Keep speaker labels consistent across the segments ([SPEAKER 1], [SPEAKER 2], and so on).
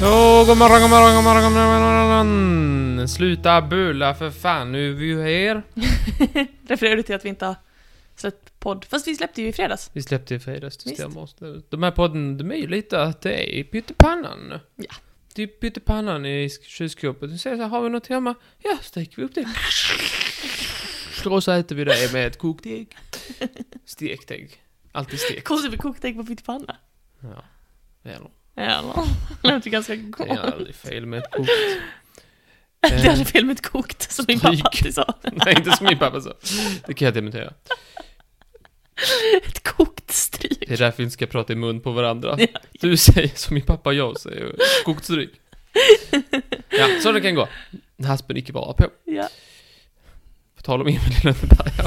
[SPEAKER 1] Hallå, god morgon, god morgon, god morgon, god morgon, god morgon. Sluta bula för fan, nu är vi ju här.
[SPEAKER 2] Refererar du till att vi inte har släppt podd? Fast vi släppte ju i fredags.
[SPEAKER 1] Vi släppte ju fredags till
[SPEAKER 2] Visst.
[SPEAKER 1] stämma De här podden, de är ju lite att det är pyttipannan.
[SPEAKER 2] Ja.
[SPEAKER 1] Det är pyttipannan i sk- kylskåpet. Du säger så här, har vi något hemma? Ja, steker vi upp det. Och så äter vi det med ett kokt ägg. Stekt ägg. Alltid stekt.
[SPEAKER 2] Konstigt med kokt ägg på pyttipanna.
[SPEAKER 1] Ja. Eller,
[SPEAKER 2] Ja, det låter ganska
[SPEAKER 1] det
[SPEAKER 2] gott.
[SPEAKER 1] är aldrig fel med ett kokt.
[SPEAKER 2] Det hade fel med ett kokt, som min pappa
[SPEAKER 1] Eh. Stryk.
[SPEAKER 2] alltid sa.
[SPEAKER 1] Nej, inte som min pappa sa. Det kan jag dementera.
[SPEAKER 2] Ett kokt stryk.
[SPEAKER 1] Det är därför vi inte ska prata i mun på varandra.
[SPEAKER 2] Ja.
[SPEAKER 1] Du säger som min pappa och jag säger, kokt stryk. Ja, så det kan gå. Haspen icke vara på.
[SPEAKER 2] Ja,
[SPEAKER 1] På tal om Emil i Lönneberga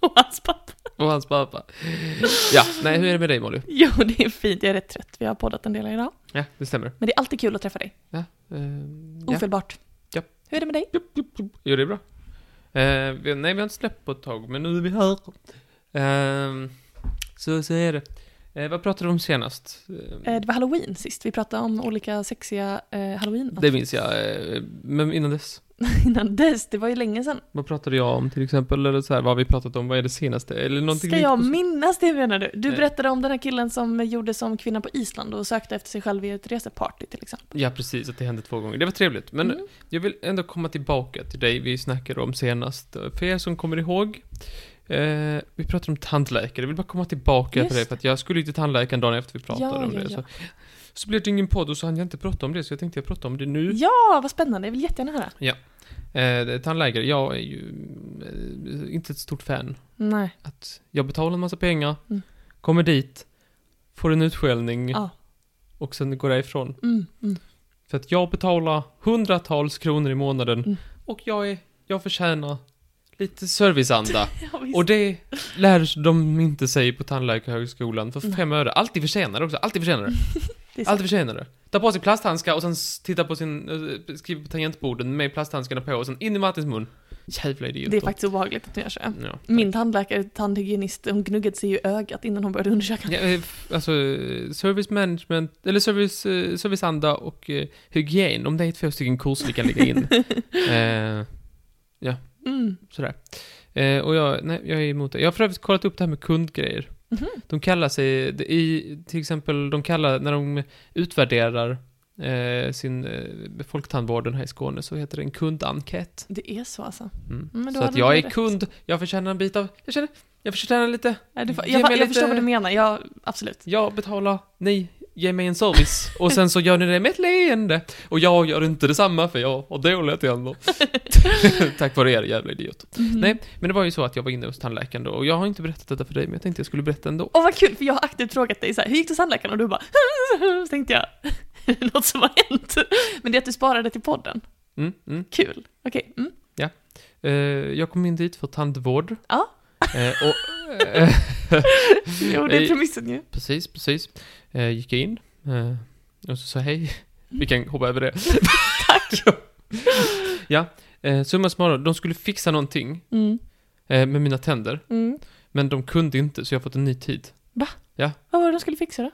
[SPEAKER 2] och hans pappa.
[SPEAKER 1] och hans pappa. Ja, nej, hur är det med dig Molly?
[SPEAKER 2] Jo, det är fint. Jag är rätt trött. Vi har poddat en del idag.
[SPEAKER 1] Ja, det stämmer.
[SPEAKER 2] Men det är alltid kul att träffa dig.
[SPEAKER 1] Ja, ehm, ja.
[SPEAKER 2] Ofelbart.
[SPEAKER 1] Ja.
[SPEAKER 2] Hur är det med dig?
[SPEAKER 1] Jo, det är bra. Eh, vi, nej, vi har inte släppt på ett tag, men nu är vi här. Ehm, så, så är det. Eh, vad pratade du om senast? Ehm,
[SPEAKER 2] Eh, Det var halloween sist. Vi pratade om olika sexiga eh, halloween
[SPEAKER 1] det minns jag, eh, men innan dess.
[SPEAKER 2] innan dess. Det var ju länge sedan.
[SPEAKER 1] Vad pratade jag om till exempel? Eller så här, vad har vi pratat om? Vad är det senaste? Eller någonting
[SPEAKER 2] Ska jag
[SPEAKER 1] likt-
[SPEAKER 2] minnas det menar du? Du
[SPEAKER 1] Nej.
[SPEAKER 2] berättade om den här killen som gjorde som kvinna på Island och sökte efter sig själv i ett reseparty till exempel.
[SPEAKER 1] Ja, precis. Att det hände två gånger. Det var trevligt. Men
[SPEAKER 2] Mm.
[SPEAKER 1] jag vill ändå komma tillbaka till dig vi snackade om senast. För er som kommer ihåg, eh, vi pratade om tandläkare. Jag vill bara komma tillbaka
[SPEAKER 2] Just
[SPEAKER 1] till det, för att jag skulle ju till tandläkaren dagen efter vi pratade
[SPEAKER 2] Ja,
[SPEAKER 1] om
[SPEAKER 2] ja,
[SPEAKER 1] det.
[SPEAKER 2] ja.
[SPEAKER 1] Så. så blev det ingen podd och så hann jag inte prata om det, så jag tänkte jag prata om det nu.
[SPEAKER 2] Ja, vad spännande. Jag vill jättegärna höra.
[SPEAKER 1] Eh, det- tandläkare, jag är ju eh, inte ett stort fan.
[SPEAKER 2] Nej.
[SPEAKER 1] Att jag betalar en massa pengar,
[SPEAKER 2] Mm.
[SPEAKER 1] kommer dit, får en utskällning
[SPEAKER 2] Ja.
[SPEAKER 1] och sen går jag ifrån.
[SPEAKER 2] Mm, mm.
[SPEAKER 1] För att jag betalar hundratals kronor i månaden
[SPEAKER 2] Mm.
[SPEAKER 1] och jag, är, jag förtjänar lite serviceanda.
[SPEAKER 2] Ja, visst.
[SPEAKER 1] och det lär de inte sig på Tandläkarhögskolan för
[SPEAKER 2] Nej.
[SPEAKER 1] fem öre. Alltid försenade också, alltid försenade.
[SPEAKER 2] Mm. Det är sant.
[SPEAKER 1] alltid försenade. Ta på sig plasthandskar och sen s- titta på sin, eh, skriva på tangentborden med plasthandskarna på och sen in i Martins mun. Jävla idioter.
[SPEAKER 2] Det är faktiskt obehagligt att du gör så.
[SPEAKER 1] Ja.
[SPEAKER 2] Min tandläkare, tandhygienist, hon gnuggade sig i ögat innan hon började undersöka.
[SPEAKER 1] Ja, eh, f- alltså, eh, service management, eller service, eh, serviceanda och eh, hygien, om det är två stycken kurser vi kan lägga in. eh,
[SPEAKER 2] Mm.
[SPEAKER 1] Sådär. Eh, och jag, nej, jag är emot det. Jag har för övrigt kollat upp det här med kundgrejer.
[SPEAKER 2] Mhm.
[SPEAKER 1] De kallar sig, det- i, till exempel, de kallar, när de utvärderar eh, sin eh, folktandvården här i Skåne så heter det en kundenkät.
[SPEAKER 2] Det är så alltså.
[SPEAKER 1] Mm.
[SPEAKER 2] Men då
[SPEAKER 1] så
[SPEAKER 2] hade
[SPEAKER 1] att
[SPEAKER 2] du
[SPEAKER 1] jag
[SPEAKER 2] ju
[SPEAKER 1] är
[SPEAKER 2] rätt.
[SPEAKER 1] kund, jag förtjänar en bit av, jag känner, jag förtjänar lite,
[SPEAKER 2] Nej, Du, får-
[SPEAKER 1] Ge
[SPEAKER 2] jag,
[SPEAKER 1] mig
[SPEAKER 2] jag, jag
[SPEAKER 1] lite-
[SPEAKER 2] förstår vad du menar. Ja, absolut.
[SPEAKER 1] jag betalar, ni ger mig en service och sen så gör ni det med ett leende. Och jag gör inte detsamma för jag har dåliga tänder. Tack vare er jävla idioter.
[SPEAKER 2] Mhm.
[SPEAKER 1] Nej, men det var ju så att jag var inne hos tandläkaren då och jag har inte berättat detta för dig men jag tänkte jag skulle berätta ändå.
[SPEAKER 2] Åh vad kul, för jag har aktivt frågat dig så här, hur gick det hos tandläkaren? Och du bara, så tänkte jag, är det något som har hänt? Men det är att du sparade till podden.
[SPEAKER 1] Mm, mm.
[SPEAKER 2] Kul. Okej. Mm.
[SPEAKER 1] Eh, jag kom in dit för tandvård.
[SPEAKER 2] Ja.
[SPEAKER 1] Eh, och, eh,
[SPEAKER 2] Jo, det är
[SPEAKER 1] Nej.
[SPEAKER 2] premissen ju.
[SPEAKER 1] precis, precis. Eh, gick jag in eh, och så sa jag hej.
[SPEAKER 2] Mm.
[SPEAKER 1] Vi kan hoppa över det. Tack! ja, eh, summa summarum, de skulle fixa någonting
[SPEAKER 2] Mm.
[SPEAKER 1] eh, med mina tänder
[SPEAKER 2] Mm.
[SPEAKER 1] men de kunde inte så jag har fått en ny tid.
[SPEAKER 2] Vad var det de skulle fixa då?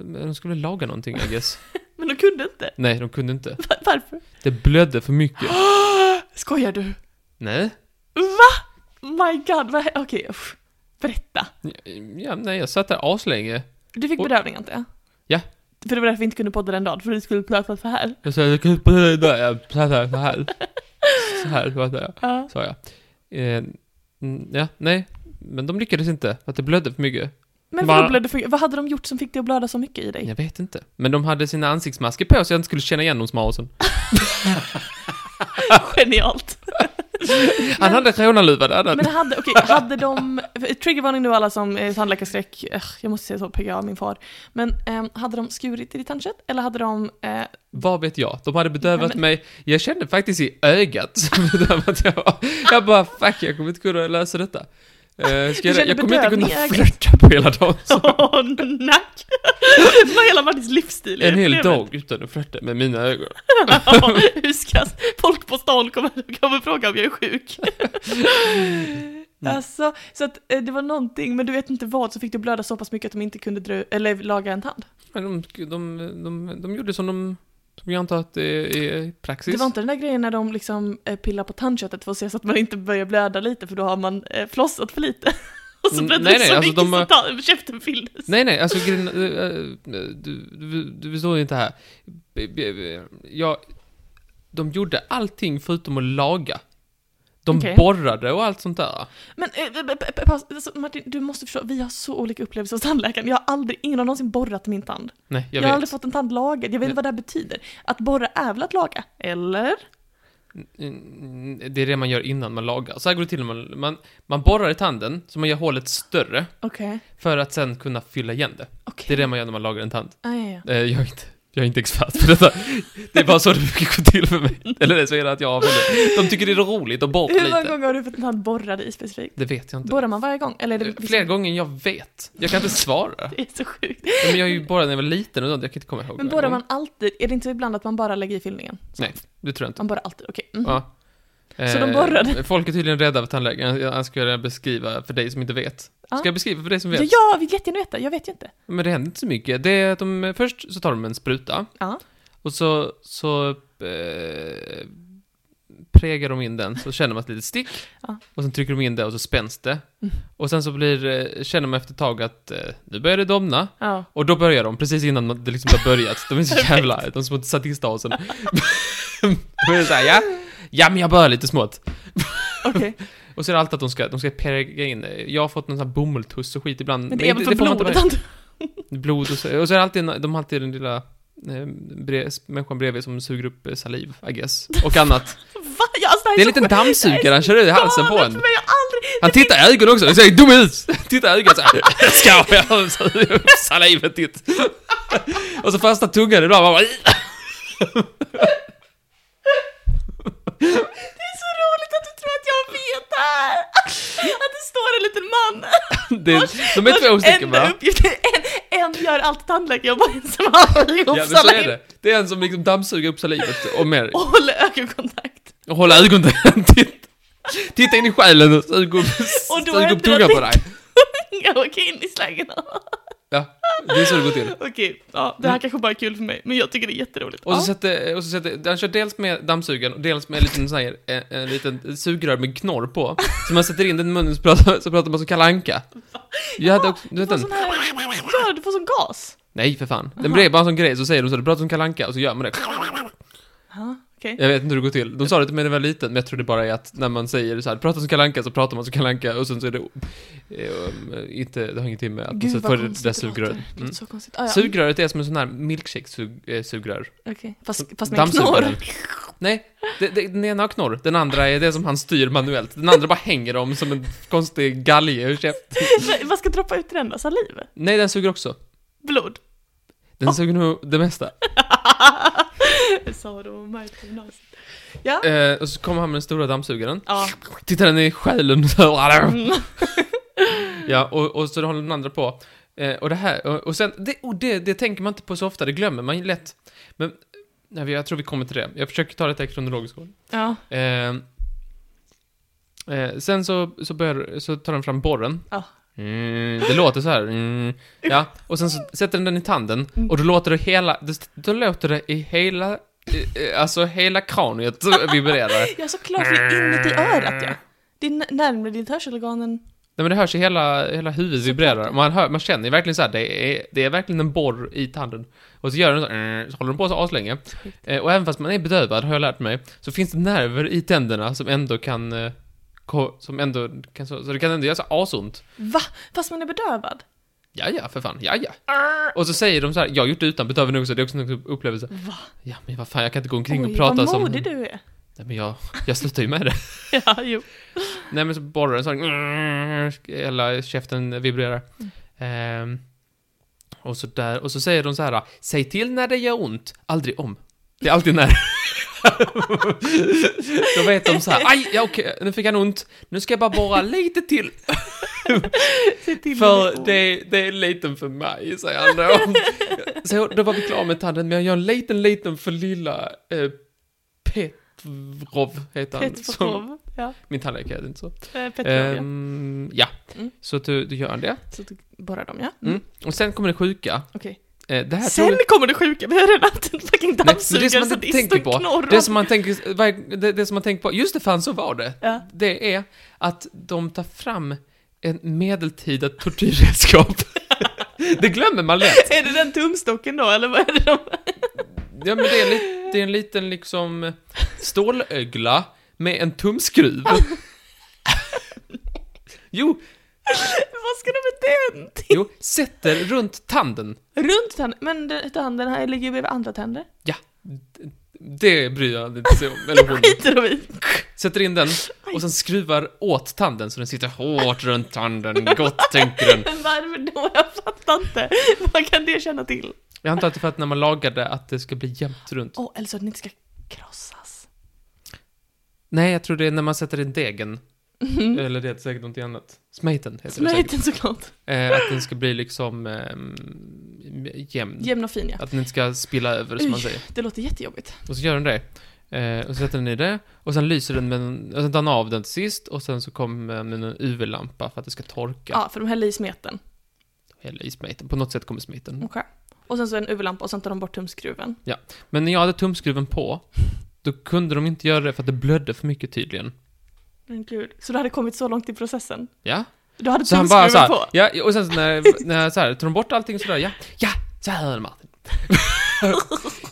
[SPEAKER 1] Eh, De skulle laga någonting, I guess.
[SPEAKER 2] Men de kunde inte.
[SPEAKER 1] Nej, de kunde inte.
[SPEAKER 2] Va- Varför?
[SPEAKER 1] Det blödde för mycket.
[SPEAKER 2] Skojar du?
[SPEAKER 1] Nej.
[SPEAKER 2] Va? My god, vad hä- Okej, usch. Berätta.
[SPEAKER 1] Ja, nej, jag satt där aslänge.
[SPEAKER 2] Du fick
[SPEAKER 1] Och-
[SPEAKER 2] bedövning antar jag?
[SPEAKER 1] Ja.
[SPEAKER 2] För det var därför vi inte kunde podda den dagen, för du skulle prata så här.
[SPEAKER 1] Jag sa, jag kan inte prata idag, jag pratar så här. Så här pratar jag,
[SPEAKER 2] Ja.
[SPEAKER 1] sa jag. Eh, mm, ja, nej. Men de lyckades inte, för att det blödde för mycket.
[SPEAKER 2] Men
[SPEAKER 1] Va?
[SPEAKER 2] vadå blödde för, vad hade de gjort som fick dig att blöda så mycket i dig?
[SPEAKER 1] Jag vet inte. Men de hade sina ansiktsmasker på så jag inte skulle känna igen dem smausen.
[SPEAKER 2] Genialt.
[SPEAKER 1] Han hade rånarluva, det hade han.
[SPEAKER 2] Men hade, okej, hade de, triggervarning nu alla som är tandläkarskräck, eh, jag måste säga så, PGA, min far. Men ehm, hade de skurit i ditt tandkött eller hade de, eh,
[SPEAKER 1] Vad vet jag? De hade
[SPEAKER 2] Nej,
[SPEAKER 1] bedövat
[SPEAKER 2] men-
[SPEAKER 1] mig. Jag kände faktiskt i ögat så bedövat jag var. Jag bara, fuck, jag kommer inte kunna lösa detta. Eh, ska jag,
[SPEAKER 2] kände
[SPEAKER 1] jag kommer inte kunna
[SPEAKER 2] bedövning i ögat?
[SPEAKER 1] flirta på hela dagen.
[SPEAKER 2] åh nack! Det var hela Martins livsstil.
[SPEAKER 1] En hel
[SPEAKER 2] Problemet.
[SPEAKER 1] dag utan att flirta med mina ögon.
[SPEAKER 2] Ja, Hur ska folk på stan komma kommer fråga om jag är sjuk? Alltså, så att eh, det var någonting, men du vet inte vad, så fick du blöda så pass mycket att de inte kunde drö- eller laga en tand.
[SPEAKER 1] Men de, de, de, de gjorde som de Som jag antar att det är praxis.
[SPEAKER 2] Det var inte den där grejen när de liksom eh, pillar på tandköttet för att se så att man inte börjar blöda lite för då har man eh, flossat för lite. Och så
[SPEAKER 1] Mm,
[SPEAKER 2] blödde
[SPEAKER 1] nej,
[SPEAKER 2] det
[SPEAKER 1] nej,
[SPEAKER 2] så
[SPEAKER 1] alltså
[SPEAKER 2] mycket
[SPEAKER 1] de har-
[SPEAKER 2] så ta- käften fylldes.
[SPEAKER 1] Nej, nej, alltså grejen, eh, eh, du, du, du förstår inte här. B- b- b- Jag, de gjorde allting förutom att laga. De
[SPEAKER 2] Okej.
[SPEAKER 1] borrade och allt sånt där.
[SPEAKER 2] Men eh, eh, eh, eh, pass, alltså, Martin, du måste förstå, vi har så olika upplevelser hos tandläkaren. Jag har aldrig, ingen har någonsin borrat min tand.
[SPEAKER 1] Nej, jag,
[SPEAKER 2] Jag,
[SPEAKER 1] vet.
[SPEAKER 2] har aldrig fått en tand lagad, jag vet
[SPEAKER 1] Ja.
[SPEAKER 2] inte vad det här betyder. Att borra är väl att laga? Eller?
[SPEAKER 1] Mm, Det är det man gör innan man lagar. Så här går det till när man, man, man borrar i tanden, så man gör hålet större,
[SPEAKER 2] Okej.
[SPEAKER 1] för att sen kunna fylla igen det.
[SPEAKER 2] Okej.
[SPEAKER 1] Det är det man gör när man lagar en tand.
[SPEAKER 2] Ah, ja, ja.
[SPEAKER 1] Eh, Jag är inte, jag är inte expert på detta. Det är bara så det brukar gå till för mig. Eller det så är det att jag har väldigt, De tycker det är roligt att borra
[SPEAKER 2] Hur många
[SPEAKER 1] lite.
[SPEAKER 2] gånger har du fått en tand borrad i specifikt?
[SPEAKER 1] Det vet jag inte.
[SPEAKER 2] Borrar liksom? man varje gång? Eller är det
[SPEAKER 1] Eh, Fler gånger än jag vet. Jag kan inte svara.
[SPEAKER 2] Det är så sjukt.
[SPEAKER 1] Ja, Men jag är ju borrad när jag var liten och sånt, jag kan inte komma ihåg.
[SPEAKER 2] Men borrar man alltid? Är det inte ibland att man bara lägger i fyllningen?
[SPEAKER 1] Nej, det tror jag inte.
[SPEAKER 2] Man borrar alltid, okej. mhm.
[SPEAKER 1] Ja.
[SPEAKER 2] Så de
[SPEAKER 1] Eh,
[SPEAKER 2] borrade?
[SPEAKER 1] Folk är tydligen rädda för tandläkaren. Jag jag ska göra beskriva för dig som inte vet. Ska
[SPEAKER 2] Ja.
[SPEAKER 1] jag beskriva för dig som vet?
[SPEAKER 2] Ja, jag vill jättegärna veta, jag vet ju inte.
[SPEAKER 1] Men det händer inte så mycket. Det är att de, först så tar de en spruta.
[SPEAKER 2] Ja.
[SPEAKER 1] Och så, så eh, prägar de in den, så känner man ett litet stick.
[SPEAKER 2] Ja.
[SPEAKER 1] Och sen trycker de in det och så spänns det.
[SPEAKER 2] Mm.
[SPEAKER 1] Och sen så blir, eh, känner man efter ett tag att eh, nu börjar det domna.
[SPEAKER 2] Ja.
[SPEAKER 1] Och då börjar de, precis innan man- det liksom har börjat. De är så jävla, de små sadisthasen. Då är det såhär, ja, ja men jag börjar lite smått.
[SPEAKER 2] Okej.
[SPEAKER 1] Mm. Och så är det alltid att de ska, de ska präga in det. Jag har fått någon sån här bomulltuss och skit ibland.
[SPEAKER 2] Men det är väl för
[SPEAKER 1] får man inte
[SPEAKER 2] blodet?
[SPEAKER 1] varje-
[SPEAKER 2] antar jag.
[SPEAKER 1] Blod och så, och så är det alltid, en- de har alltid den lilla eh, bre, människan bredvid som suger upp eh, saliv, I guess. Och annat.
[SPEAKER 2] Va? Ja, alltså, här
[SPEAKER 1] Det är en
[SPEAKER 2] så
[SPEAKER 1] liten
[SPEAKER 2] sjukt.
[SPEAKER 1] dammsugare han kör ut i halsen på
[SPEAKER 2] galet för
[SPEAKER 1] en.
[SPEAKER 2] mig, Jag har aldrig...
[SPEAKER 1] Han tittar i ögonen också, det ser dum ut! Tittar i ögonen såhär, ska jag suga upp salivet ditt? Och så första tungan ibland, man bara,
[SPEAKER 2] Det är så roligt att du tror att jag vet det här! Att det står en liten man.
[SPEAKER 1] det, de är två
[SPEAKER 2] Vars
[SPEAKER 1] stycken
[SPEAKER 2] enda
[SPEAKER 1] va?
[SPEAKER 2] uppgift är- en, en gör allt tandläkarjobb och en som har
[SPEAKER 1] Ja men så är det. Det är en som liksom dammsuger upp salivet och mer,
[SPEAKER 2] Och håller ögonkontakt.
[SPEAKER 1] och håller ögonen, titta, titta in i själen och sug upp,
[SPEAKER 2] Och då
[SPEAKER 1] sug upp
[SPEAKER 2] händer det
[SPEAKER 1] tungan på
[SPEAKER 2] att-
[SPEAKER 1] dig.
[SPEAKER 2] Jag åker in i slangen.
[SPEAKER 1] Ja, det är så det går till.
[SPEAKER 2] Okej, ja, det här kanske bara är kul för mig, men jag tycker det är jätteroligt.
[SPEAKER 1] Och så
[SPEAKER 2] ja.
[SPEAKER 1] sätter, och så sätter, han kör dels med dammsugaren och dels med en liten sån här, en, en liten sugrör med knorr på. Så man sätter in den i munnen så pratar, så pratar man som Kalle Anka. Jag hade också, du
[SPEAKER 2] Du
[SPEAKER 1] vet
[SPEAKER 2] får
[SPEAKER 1] den?
[SPEAKER 2] sån här... Ja, du får sån gas.
[SPEAKER 1] Nej för fan. Den blev bara en sån grej, så säger de så, du pratar som Kalle Anka, och så gör man det.
[SPEAKER 2] Ja, okej.
[SPEAKER 1] Jag vet inte hur det går till. De sa det till mig när jag var liten, men jag tror det bara är att när man säger så här, prata som Kalle Anka, så pratar man som Kalle Anka, och sen så är det eh, um, inte, det har ingenting med att man
[SPEAKER 2] Gud
[SPEAKER 1] sätter på
[SPEAKER 2] vad
[SPEAKER 1] det
[SPEAKER 2] konstigt
[SPEAKER 1] där
[SPEAKER 2] låter.
[SPEAKER 1] sugröret.
[SPEAKER 2] Det
[SPEAKER 1] Mm.
[SPEAKER 2] låter så konstigt. Ah, ja. Mm,
[SPEAKER 1] Sugröret är som en sån här milkshake-sugrör.
[SPEAKER 2] Okej, fast, fast med
[SPEAKER 1] Dammsugaren.
[SPEAKER 2] knorr.
[SPEAKER 1] Nej, det, det, den ena har knorr, den andra är det som han styr manuellt. Den andra bara hänger om som en konstig galge ur käften.
[SPEAKER 2] Men Vad ska droppa ut i den då? Saliv?
[SPEAKER 1] Nej, den suger också.
[SPEAKER 2] Blod?
[SPEAKER 1] Den
[SPEAKER 2] Ah.
[SPEAKER 1] suger nog det mesta.
[SPEAKER 2] Jag sa det om mig på gymnasiet. Ja.
[SPEAKER 1] Eh, och så kommer han med den stora dammsugaren.
[SPEAKER 2] Ja.
[SPEAKER 1] Tittar den i själen så här.
[SPEAKER 2] Mm.
[SPEAKER 1] Ja, och, och så håller den andra på. Eh, och det här, och, och sen, det, och det, det tänker man inte på så ofta, det glömmer man ju lätt. Men, nej, jag tror vi kommer till det. Jag försöker ta lite kronologisk ordning.
[SPEAKER 2] Ja.
[SPEAKER 1] Eh, eh, sen så, så, börjar, så tar den fram borren.
[SPEAKER 2] Ja.
[SPEAKER 1] Mm, det låter så här. Mm, ja. Och sen så sätter den den i tanden och då låter det hela, då, då låter det i hela, eh, eh, alltså hela kraniet vibrera. Nej
[SPEAKER 2] Ja, såklart. Det är inuti örat, ja. Det är n- närmare ditt hörselorgan än...
[SPEAKER 1] men det hörs i hela, hela huvudet vibrera. Man, hör, man känner ju verkligen så här, det är, det är verkligen en borr i tanden. Och så gör den så, här, mm, så håller den på så aslänge. Eh, och även fast man är bedövad, har jag lärt mig, så finns det nerver i tänderna som ändå kan, eh, ko- som ändå kan, så, så det kan ändå göra så här asont.
[SPEAKER 2] Va? Fast man är bedövad?
[SPEAKER 1] Ja, ja, för fan, ja, ja. Och så säger de så här, jag har gjort det utan bedövning också, det är också en upplevelse.
[SPEAKER 2] Va?
[SPEAKER 1] Ja, men vad fan, jag kan inte gå omkring
[SPEAKER 2] Oj,
[SPEAKER 1] och prata
[SPEAKER 2] vad
[SPEAKER 1] som...
[SPEAKER 2] modig du är.
[SPEAKER 1] Nej, men jag, jag slutar ju med det.
[SPEAKER 2] Ja, jo.
[SPEAKER 1] Nej, men så borrar den så här, hela käften vibrerar. Ehm, och så där, och så säger de så här, säg till när det gör ont, aldrig om. Det är alltid när. Då vet de så här, aj, ja, okej, nu fick han ont, nu ska jag bara borra lite till.
[SPEAKER 2] Se till
[SPEAKER 1] För det, det är liten för mig, säger han då. Så då var vi klara med tanden, men jag gör en liten, liten för lilla eh, Petrov, heter han. Som,
[SPEAKER 2] Petrov. Ja,
[SPEAKER 1] min tandläkare heter inte så.
[SPEAKER 2] eh, Petrov, ja.
[SPEAKER 1] Ehm, ja,
[SPEAKER 2] Mm.
[SPEAKER 1] så att du, du gör det.
[SPEAKER 2] Så du borrar dem, ja.
[SPEAKER 1] Mm. Och sen kommer det sjuka.
[SPEAKER 2] Okej.
[SPEAKER 1] Eh, det här tror
[SPEAKER 2] Sen
[SPEAKER 1] jag-
[SPEAKER 2] kommer det sjuka, vi har redan haft en typ fucking
[SPEAKER 1] Nej, men det som
[SPEAKER 2] dammsugare,
[SPEAKER 1] man inte
[SPEAKER 2] sadist
[SPEAKER 1] tänker
[SPEAKER 2] och
[SPEAKER 1] på,
[SPEAKER 2] knorr.
[SPEAKER 1] Det som man tänker, verk- det, det som man tänker på, just det fan så var det.
[SPEAKER 2] Ja.
[SPEAKER 1] Det är att de tar fram en medeltida tortyrredskap. det glömmer man lätt.
[SPEAKER 2] Är det den tumstocken då, eller vad är det de...
[SPEAKER 1] Ja men det är, li- det är en liten liksom stålögla med en tumskruv. jo,
[SPEAKER 2] Vad ska de med den till?
[SPEAKER 1] jo, sätter runt tanden.
[SPEAKER 2] Runt tanden, men den, tanden här ligger ju bredvid andra tänder.
[SPEAKER 1] Ja, d- det bryr jag inte sig om. Eller hon.
[SPEAKER 2] Skiter de i.
[SPEAKER 1] Sätter in den och sen skruvar åt tanden så den sitter hårt runt tanden. Gott tänker den.
[SPEAKER 2] Men varför då? Jag fattar inte. Vad kan det känna till?
[SPEAKER 1] Jag antar att det är för att när man lagar det, att det ska bli jämnt runt.
[SPEAKER 2] Åh, eller så att den inte ska krossas.
[SPEAKER 1] Nej, jag tror det är när man sätter in degen.
[SPEAKER 2] Mm.
[SPEAKER 1] Eller det är säkert någonting annat. Smeten heter det säkert.
[SPEAKER 2] Smörjten såklart.
[SPEAKER 1] Eh, att den ska bli liksom eh, jämn.
[SPEAKER 2] Jämn och fin ja.
[SPEAKER 1] Att den inte ska spilla över, som man
[SPEAKER 2] Uj.
[SPEAKER 1] säger.
[SPEAKER 2] Det låter jättejobbigt.
[SPEAKER 1] Och så gör den det. Eh, och så sätter den i det. Och sen lyser den med en, och sen tar den av den till sist. Och sen så kommer den med en UV-lampa för att det ska torka.
[SPEAKER 2] Ja, för de häller i smeten.
[SPEAKER 1] Eller i smeten. På något sätt kommer smeten.
[SPEAKER 2] Okej. Och sen så en UV-lampa och sen tar de bort tumskruven.
[SPEAKER 1] Men när jag hade tumskruven på, då kunde de inte göra det för att det blödde för mycket tydligen.
[SPEAKER 2] Men gud. Så du hade kommit så långt i processen?
[SPEAKER 1] Ja.
[SPEAKER 2] Du hade
[SPEAKER 1] Så han
[SPEAKER 2] tumskruven
[SPEAKER 1] bara såhär,
[SPEAKER 2] på?
[SPEAKER 1] ja, och sen så när, när så här, tar de bort allting sådär, ja, ja, så här är det Martin.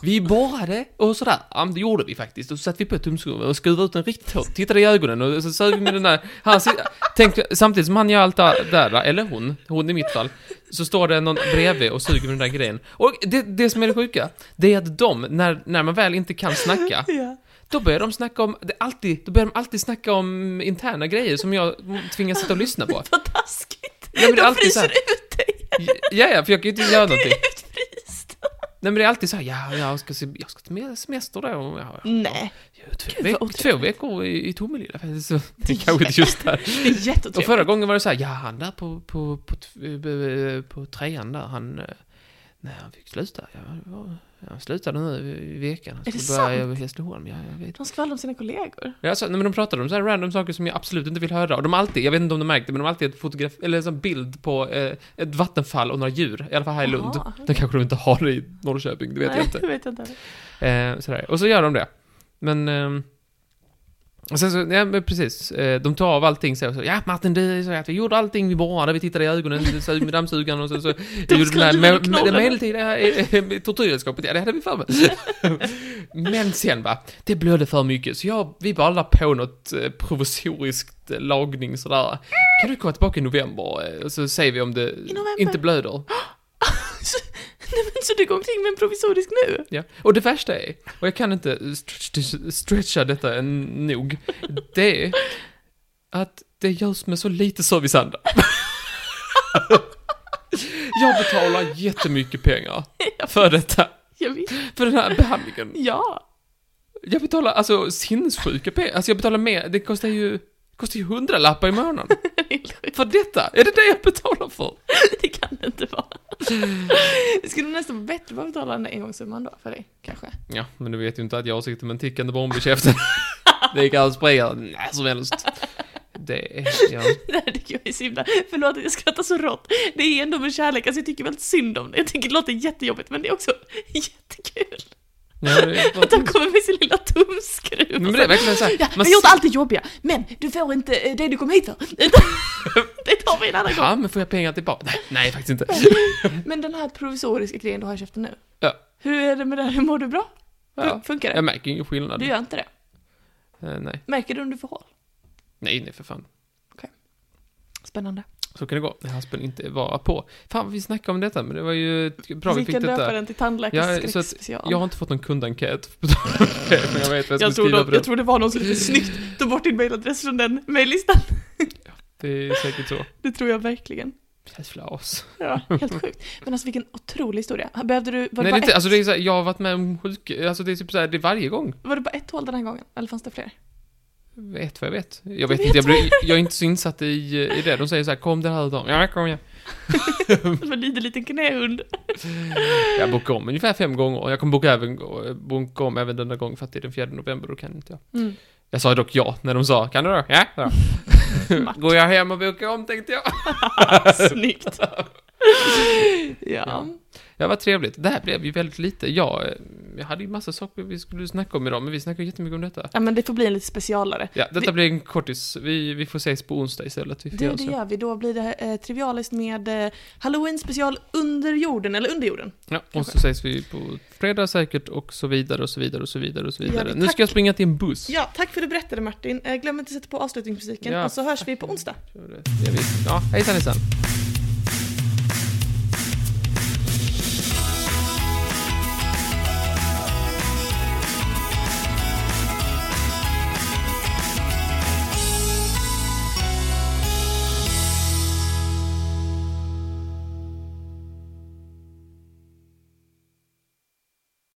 [SPEAKER 1] vi borrade och sådär, ja men det gjorde vi faktiskt. Och så satte vi på tumskruven och skruvade ut den riktigt hårt, tittade i ögonen och så sög vi med den där, han sit, tänk, samtidigt som han gör allt det där, eller hon, hon i mitt fall, så står det någon bredvid och suger med den där grejen. Och det, det som är det sjuka, det är att de, när, när man väl inte kan snacka,
[SPEAKER 2] Ja.
[SPEAKER 1] då börjar de snacka om, det är alltid, då börjar de alltid snacka om interna grejer som jag tvingas sitta och lyssna på.
[SPEAKER 2] Vad taskigt!
[SPEAKER 1] Ja, men det är
[SPEAKER 2] de
[SPEAKER 1] alltid så
[SPEAKER 2] fryser
[SPEAKER 1] här.
[SPEAKER 2] ut dig!
[SPEAKER 1] Ja, ja, för jag kan ju inte göra
[SPEAKER 2] Du är
[SPEAKER 1] någonting.
[SPEAKER 2] utfryst!
[SPEAKER 1] Nej, men det är alltid så här, ja, jag ska, se, jag ska ta med semester då. och Ja, ja,
[SPEAKER 2] Nej,
[SPEAKER 1] ja, två,
[SPEAKER 2] Mm. Gud, vad
[SPEAKER 1] veck, två
[SPEAKER 2] otrevligt.
[SPEAKER 1] veckor i, i Tomelilla. för det är Så, det är kanske inte just där.
[SPEAKER 2] det är
[SPEAKER 1] Och
[SPEAKER 2] jätteotrevligt.
[SPEAKER 1] förra gången var det så här, ja, han där på, på, på, på, på trean där, han... eh, Nej, han fick sluta. Ja, det var- ja, han slutade nu i- i veckan. Han
[SPEAKER 2] Är det
[SPEAKER 1] skulle börja i Hässleholm. Ja, jag vet.
[SPEAKER 2] De skvallrar om sina kollegor.
[SPEAKER 1] Ja, Alltså, nej, men de pratade om så här random saker som jag absolut inte vill höra. Och de har alltid, jag vet inte om de märkte, men de har alltid ett fotograf, eller en sån bild på eh, ett vattenfall och några djur. I alla fall här i Lund.
[SPEAKER 2] Jaha.
[SPEAKER 1] Det kanske de inte har det i Norrköping, det vet jag
[SPEAKER 2] Nej,
[SPEAKER 1] inte.
[SPEAKER 2] det vet jag inte.
[SPEAKER 1] Eh, sådär. Och så gör de det. Men... ehm, och sen så, ja men precis. Eh, de tar av allting så, här och så Ja Martin, det är så här att vi gjorde allting, vi borrade, vi tittade i ögonen, vi sög med dammsugaren och sen så... vi gjorde den här
[SPEAKER 2] skulle
[SPEAKER 1] med,
[SPEAKER 2] vi
[SPEAKER 1] med,
[SPEAKER 2] knorra.
[SPEAKER 1] det medeltida eh, eh, tortyrredskapet, ja det hade vi för mig. men sen va, det blödde för mycket så jag, vi bara la på något eh, provisoriskt eh, lagning sådär. Kan du komma tillbaka i november? eh, Och så säger vi om det
[SPEAKER 2] november?
[SPEAKER 1] inte blöder.
[SPEAKER 2] Så, nej, men, så du går omkring med en provisorisk nu?
[SPEAKER 1] Ja, och det värsta är, och jag kan inte stretch- stretcha detta en- nog, det är att det görs med så lite serviceanda. Jag betalar jättemycket pengar för detta,
[SPEAKER 2] Jag vet.
[SPEAKER 1] för den här behandlingen.
[SPEAKER 2] Ja.
[SPEAKER 1] Jag betalar alltså sinnessjuka pengar, alltså jag betalar mer, det kostar ju, det kostar ju hundralappar i månaden. För detta, är det det jag betalar för?
[SPEAKER 2] Det kan det inte vara. Det skulle nästan vara bättre att betala den där engångssumman då för dig, kanske.
[SPEAKER 1] Ja, men du vet ju inte att jag sitter med en tickande bomb i käften. Det kan spraya när som helst. Det är, ja.
[SPEAKER 2] Det här tycker jag är så himla... Förlåt att jag skrattar så rått. Det är ändå med kärlek, alltså jag tycker väldigt synd om det. Jag tycker det låter jättejobbigt, men det är också jättekul.
[SPEAKER 1] Ja, det är
[SPEAKER 2] Att de
[SPEAKER 1] bara...
[SPEAKER 2] kommer med sin lilla tumskruv.
[SPEAKER 1] Men det är verkligen så här,
[SPEAKER 2] Ja,
[SPEAKER 1] man
[SPEAKER 2] vi har gjort
[SPEAKER 1] ser-
[SPEAKER 2] allt det jobbiga, men du får inte eh, det du kom hit för. Utan- Det tar vi en annan gång.
[SPEAKER 1] Ja, men får jag pengar tillbaka? Nej, nej faktiskt inte.
[SPEAKER 2] Men den här provisoriska grejen du har i käften nu.
[SPEAKER 1] Ja.
[SPEAKER 2] Hur är det med det? Hur mår du bra?
[SPEAKER 1] Ja.
[SPEAKER 2] Fun- Funkar det?
[SPEAKER 1] Jag märker ingen skillnad.
[SPEAKER 2] Du gör inte det?
[SPEAKER 1] Eh, nej.
[SPEAKER 2] Märker du om du får hål?
[SPEAKER 1] nej, nej för fan.
[SPEAKER 2] Spännande.
[SPEAKER 1] Så kan det gå. Haspen inte vara på. Fan, vi snackade om detta, men det var ju bra
[SPEAKER 2] Bra,
[SPEAKER 1] vi
[SPEAKER 2] vi
[SPEAKER 1] fick
[SPEAKER 2] kan döpa
[SPEAKER 1] detta.
[SPEAKER 2] den till
[SPEAKER 1] Ja, så att
[SPEAKER 2] tandläkarskräckspecial.
[SPEAKER 1] Jag har inte fått någon kundenkät. på tal om det, men jag vet vad jag,
[SPEAKER 2] jag,
[SPEAKER 1] ska
[SPEAKER 2] tror
[SPEAKER 1] skriva på
[SPEAKER 2] de,
[SPEAKER 1] den.
[SPEAKER 2] jag tror det var någon som lite snyggt tog bort din mailadress från den mejllistan.
[SPEAKER 1] Det är säkert så.
[SPEAKER 2] Det tror jag verkligen.
[SPEAKER 1] Jävla as.
[SPEAKER 2] Ja, helt sjukt. Men alltså vilken otrolig historia. Behövde du, var det,
[SPEAKER 1] Nej, det
[SPEAKER 2] bara,
[SPEAKER 1] är inte,
[SPEAKER 2] ett,
[SPEAKER 1] alltså det är så här, jag har varit med om sjuk... Alltså det är typ så här, det är varje gång.
[SPEAKER 2] var det bara ett hål den här gången? Eller fanns det fler?
[SPEAKER 1] Vet vad jag vet. Jag vet
[SPEAKER 2] vet
[SPEAKER 1] inte, jag,
[SPEAKER 2] vad
[SPEAKER 1] blir, jag är inte så insatt i, i det. De säger så här, kom den här dagen. Ja, kom igen. Mm.
[SPEAKER 2] Det var en liten, liten knähund.
[SPEAKER 1] Jag bokade om ungefär fem gånger och jag kommer boka, även, boka om även denna gång för att det är den 4 november och kan inte jag.
[SPEAKER 2] Mm.
[SPEAKER 1] Jag sa dock ja när de sa, kan du då? Ja, ja. Går jag hem och bokar om tänkte jag.
[SPEAKER 2] Snyggt.
[SPEAKER 1] Ja.
[SPEAKER 2] ja.
[SPEAKER 1] Det här var trevligt. Det här blev ju väldigt lite. Jag, eh, jag hade ju massa saker vi skulle snacka om idag, men vi snackar ju jättemycket om detta.
[SPEAKER 2] Ja, men det får bli en lite specialare.
[SPEAKER 1] Ja, detta
[SPEAKER 2] Vi-
[SPEAKER 1] blir en kortis. Vi, vi får ses på onsdag istället. Vi får
[SPEAKER 2] Du,
[SPEAKER 1] göra
[SPEAKER 2] det
[SPEAKER 1] så.
[SPEAKER 2] gör vi. Då blir det eh, trivialiskt med eh, Halloween special under jorden, eller under jorden.
[SPEAKER 1] Ja, och så
[SPEAKER 2] Kanske.
[SPEAKER 1] ses vi på fredag säkert och så vidare och så vidare och så vidare och så
[SPEAKER 2] Ja,
[SPEAKER 1] vidare.
[SPEAKER 2] det-
[SPEAKER 1] nu
[SPEAKER 2] tack.
[SPEAKER 1] ska jag springa till en buss.
[SPEAKER 2] Ja, tack för att du berättade Martin. Eh, glöm inte att sätta på avslutningsmusiken
[SPEAKER 1] Ja.
[SPEAKER 2] och så hörs vi på onsdag.
[SPEAKER 1] Gör det. Det är vi. Ja, hejsan hejsan.